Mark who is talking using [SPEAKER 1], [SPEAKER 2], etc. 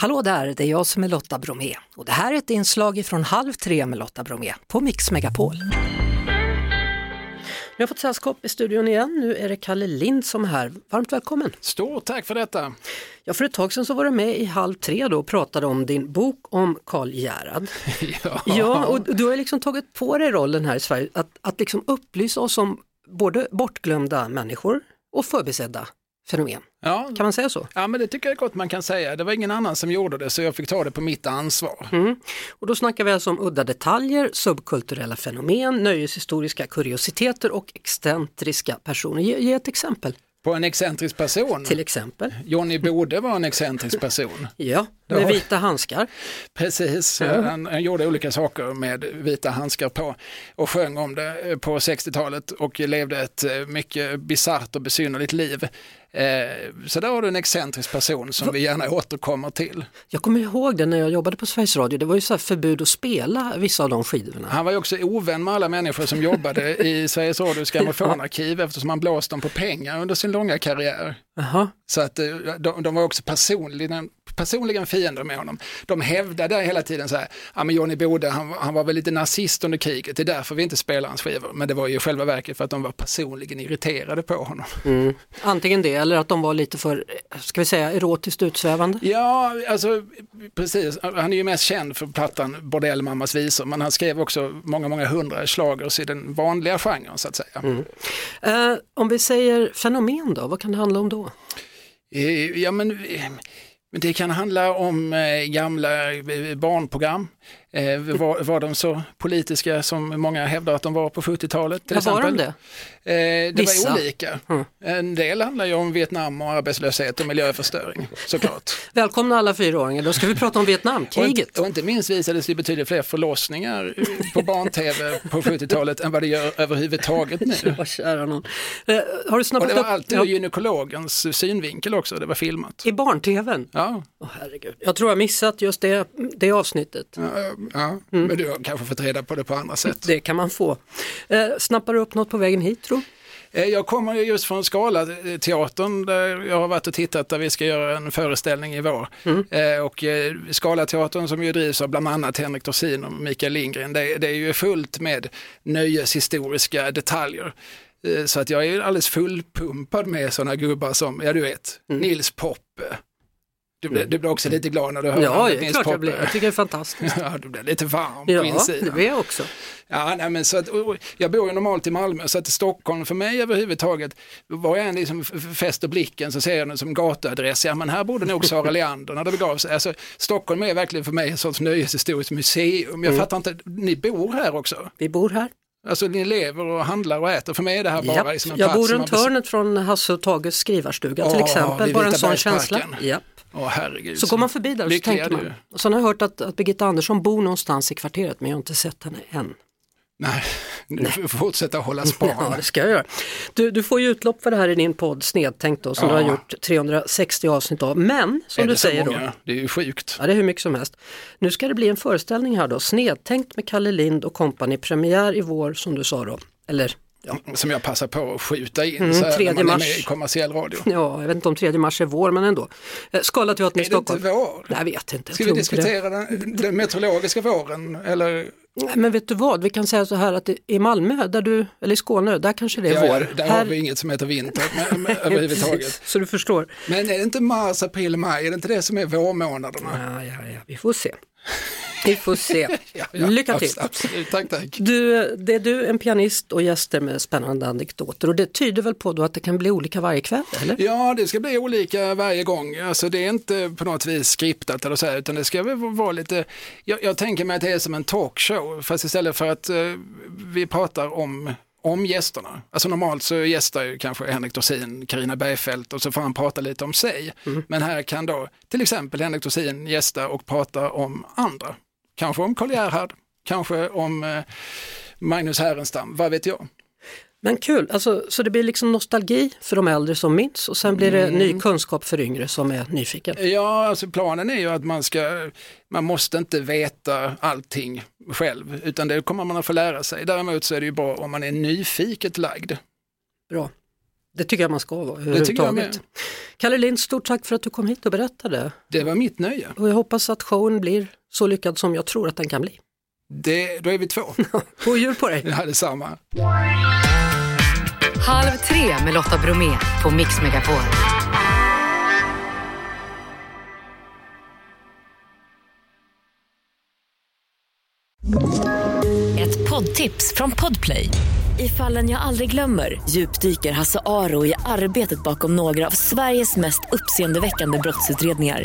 [SPEAKER 1] Hallå där, det är jag som är Lotta Bromé och det här är ett inslag från Halv tre med Lotta Bromé på Mix Megapol. Nu har jag fått sällskap i studion igen. Nu är det Kalle Lind som är här. Varmt välkommen!
[SPEAKER 2] Stort tack för detta!
[SPEAKER 1] Ja, för ett tag sedan så var du med i Halv tre då och pratade om din bok om Karl Gerhard.
[SPEAKER 2] Ja.
[SPEAKER 1] Ja, och du har liksom tagit på dig rollen här i Sverige att, att liksom upplysa oss om både bortglömda människor och förbisedda fenomen.
[SPEAKER 2] Ja.
[SPEAKER 1] Kan man säga så?
[SPEAKER 2] ja, men det tycker jag är gott man kan säga. Det var ingen annan som gjorde det så jag fick ta det på mitt ansvar.
[SPEAKER 1] Och då snackar vi alltså om udda detaljer, subkulturella fenomen, nöjeshistoriska kuriositeter och excentriska personer. Ge, ge ett exempel.
[SPEAKER 2] På en excentrisk person.
[SPEAKER 1] Till exempel,
[SPEAKER 2] Johnny Bode var en excentrisk person.
[SPEAKER 1] ja, med
[SPEAKER 2] Ja.
[SPEAKER 1] vita handskar.
[SPEAKER 2] Precis, han, han gjorde olika saker med vita handskar på och sjöng om det eh, på 60-talet och levde ett eh, mycket bisarrt och besynnerligt liv. Eh, Så där har du en excentrisk person som vi gärna återkommer till.
[SPEAKER 1] Jag kommer ihåg det när jag jobbade på Sveriges Radio, det var ju så här förbud att spela vissa av de skivorna.
[SPEAKER 2] Han var ju också ovän med alla människor som jobbade i Sveriges Radios grammofonarkiv eftersom han blåst dem på pengar under sin långa karriär.
[SPEAKER 1] Jaha,
[SPEAKER 2] Så att eh, de, de var också personligen, personligen fiender med honom. De hävdade hela tiden så här, ja men Johnny Bode, han, han var väl lite nazist under kriget, det är därför vi inte spelar hans skivor. Men det var ju i själva verket för att de var personligen irriterade på honom.
[SPEAKER 1] antingen det eller att de var lite för, ska vi säga, erotiskt utsvävande.
[SPEAKER 2] Ja, alltså precis. Han är ju mest känd för plattan Bordellmammas visor, men han skrev också många, många hundra schlagers i den vanliga genren så att säga.
[SPEAKER 1] Eh, om vi säger fenomen då, vad kan det handla om då?
[SPEAKER 2] Eh, Ja, men, eh, men det kan handla om eh, gamla eh, barnprogram. Eh, Var, var de så politiska som många hävdar att de var på 70-talet? Till
[SPEAKER 1] Ja, var de
[SPEAKER 2] exempel?
[SPEAKER 1] det?
[SPEAKER 2] Eh, det
[SPEAKER 1] Vissa. Mm.
[SPEAKER 2] var olika. En del handlar ju om Vietnam och arbetslöshet och miljöförstöring såklart.
[SPEAKER 1] Välkomna alla fyraåringar, då ska vi prata om
[SPEAKER 2] Och inte,
[SPEAKER 1] Vietnamkriget.
[SPEAKER 2] och inte minst visades det betydligt fler förlossningar eh, på barn-tv på 70-talet än vad det gör överhuvudtaget nu.
[SPEAKER 1] Vad kära någon. Eh, har du
[SPEAKER 2] Och
[SPEAKER 1] snappat
[SPEAKER 2] det var
[SPEAKER 1] upp
[SPEAKER 2] alltid ur
[SPEAKER 1] ja,
[SPEAKER 2] gynekologens synvinkel också, det var filmat.
[SPEAKER 1] i barn-tvn?
[SPEAKER 2] Ja,
[SPEAKER 1] Åh, herregud. Jag tror jag missat just det, det avsnittet.
[SPEAKER 2] ja, ja. men du har kanske fått reda på det på andra sätt.
[SPEAKER 1] Det kan man få. Eh, snappar du upp något på vägen hit tro?
[SPEAKER 2] Eh, Jag kommer ju just från Scalateatern där jag har varit och tittat där vi ska göra en föreställning i vår.
[SPEAKER 1] Mm.
[SPEAKER 2] Eh, Och eh, Scalateatern som ju drivs av bland annat Henrik Dorsin och Mikael Lindgren, det, det är ju fullt med nöjeshistoriska detaljer. Eh, Så att jag är ju alldeles fullpumpad med sådana gubbar som, ja du vet,
[SPEAKER 1] Mm.
[SPEAKER 2] Nils Poppe. Du, blir- du blir också lite glad när du hör
[SPEAKER 1] Ja,
[SPEAKER 2] namnet
[SPEAKER 1] det är
[SPEAKER 2] Nils
[SPEAKER 1] klart jag
[SPEAKER 2] Poppe.
[SPEAKER 1] blir. Jag tycker det är fantastiskt.
[SPEAKER 2] Ja, du blir lite varm på
[SPEAKER 1] Ja, det
[SPEAKER 2] insidan.
[SPEAKER 1] blir jag också.
[SPEAKER 2] Ja, nej, men så att, och- och jag bor ju normalt i Malmö, så att Stockholm för mig överhuvudtaget, var jag än liksom f- f- fäster blicken så ser jag den som gatuadress, ja men här bodde nog Sara Leander när det begav sig. Alltså, Stockholm är verkligen för mig en sorts nöjeshistoriskt museum.
[SPEAKER 1] Mm.
[SPEAKER 2] Jag fattar inte, ni bor här också?
[SPEAKER 1] Vi bor här.
[SPEAKER 2] Alltså ni lever och handlar och äter, för mig är det här bara
[SPEAKER 1] Japp.
[SPEAKER 2] liksom en
[SPEAKER 1] Jag
[SPEAKER 2] plats
[SPEAKER 1] bor
[SPEAKER 2] som
[SPEAKER 1] runt
[SPEAKER 2] man besö-
[SPEAKER 1] hörnet från Hasse och Tages skrivarstuga till
[SPEAKER 2] Ja,
[SPEAKER 1] exempel.
[SPEAKER 2] vid
[SPEAKER 1] Bara en
[SPEAKER 2] Vita
[SPEAKER 1] sån
[SPEAKER 2] bergsparken.
[SPEAKER 1] känsla. Japp.
[SPEAKER 2] Åh herregud.
[SPEAKER 1] Så går man förbi där och så
[SPEAKER 2] Lyckliga
[SPEAKER 1] tänker man.
[SPEAKER 2] du.
[SPEAKER 1] Och sen har jag hört att, att Birgitta Andersson bor någonstans i kvarteret men jag har inte sett henne än.
[SPEAKER 2] Nej, nu får vi fortsätta hålla
[SPEAKER 1] Ja,
[SPEAKER 2] span.
[SPEAKER 1] det ska jag göra. Du, du får ju utlopp för det här i din podd Snedtänkt då, som
[SPEAKER 2] Ja.
[SPEAKER 1] du har gjort 360 avsnitt av. Men som
[SPEAKER 2] Är
[SPEAKER 1] du
[SPEAKER 2] det så
[SPEAKER 1] säger då,
[SPEAKER 2] många? Det är ju sjukt.
[SPEAKER 1] ja, det är hur mycket som helst. Nu ska det bli en föreställning här då, Snedtänkt med Kalle Lind och kompani, premiär i vår som du sa då. Eller
[SPEAKER 2] Som jag passar på att skjuta in så här, när
[SPEAKER 1] Mm, tredje
[SPEAKER 2] man är
[SPEAKER 1] mars.
[SPEAKER 2] med i kommersiell radio.
[SPEAKER 1] ja, jag vet inte om 3 mars är vår men ändå. Eh, Scalateatern i
[SPEAKER 2] Är det inte
[SPEAKER 1] Stockholm.
[SPEAKER 2] vår?
[SPEAKER 1] Nej, jag vet inte. Jag
[SPEAKER 2] Ska vi
[SPEAKER 1] tror inte det.
[SPEAKER 2] diskutera den, den meteorologiska våren? Eller,
[SPEAKER 1] Nej, Men vet du vad, vi kan säga så här att i- i Malmö, där du, eller i Skåne, där kanske det är
[SPEAKER 2] ja,
[SPEAKER 1] vår.
[SPEAKER 2] där har vi inget som heter vinter men, men, överhuvudtaget.
[SPEAKER 1] Så du förstår.
[SPEAKER 2] Men är det inte mars, april, maj? Är det inte det som är vårmånaderna?
[SPEAKER 1] Ja, Ah, ja, ja, vi får se. Vi får se.
[SPEAKER 2] Ja, ja,
[SPEAKER 1] Lycka till.
[SPEAKER 2] abs- Absolut, tack, tack.
[SPEAKER 1] Du, det är du, en pianist och gäster med spännande anekdoter och det tyder väl på då att det kan bli olika varje kväll, eller?
[SPEAKER 2] Ja, det ska bli olika varje gång. Alltså, det är inte på något vis skriptat eller så här, utan det ska väl vara lite... Jag, jag tänker mig att det är som en talkshow, fast istället för att eh, vi pratar om om gästerna. Alltså normalt så gästar ju kanske Henrik Dorsin, Karina Bergfeldt och så får han prata lite om sig. Men här kan då till exempel Henrik Dorsin gästa och prata om andra. Kanske om Karl Gerhard, kanske om eh, Magnus Härenstam, vad vet jag.
[SPEAKER 1] Men kul, alltså, så det blir liksom nostalgi för de äldre som minns och sen blir det
[SPEAKER 2] Mm.
[SPEAKER 1] ny kunskap för yngre som är nyfiken.
[SPEAKER 2] Ja, alltså planen är ju att man ska, man måste inte veta allting själv, utan det kommer man att få lära sig. Däremot så är det ju bra om man är nyfiket lagd.
[SPEAKER 1] Bra. Det tycker jag man ska vara
[SPEAKER 2] jag
[SPEAKER 1] överhuvudtaget.
[SPEAKER 2] med.
[SPEAKER 1] Kalle Lind, stort tack för att du kom hit och berättade.
[SPEAKER 2] Det var mitt nöje.
[SPEAKER 1] Och jag hoppas att showen blir så lyckad som jag tror att den kan bli.
[SPEAKER 2] Det, då är vi två.
[SPEAKER 1] God jul på dig!
[SPEAKER 2] Jag hade samma.
[SPEAKER 3] Halv tre med Lotta Bromé på Mix Megapol.
[SPEAKER 4] Ett poddtips från Podplay. I fallen jag aldrig glömmer djupdyker Hasse Aro i arbetet bakom några av Sveriges mest uppseendeväckande brottsutredningar.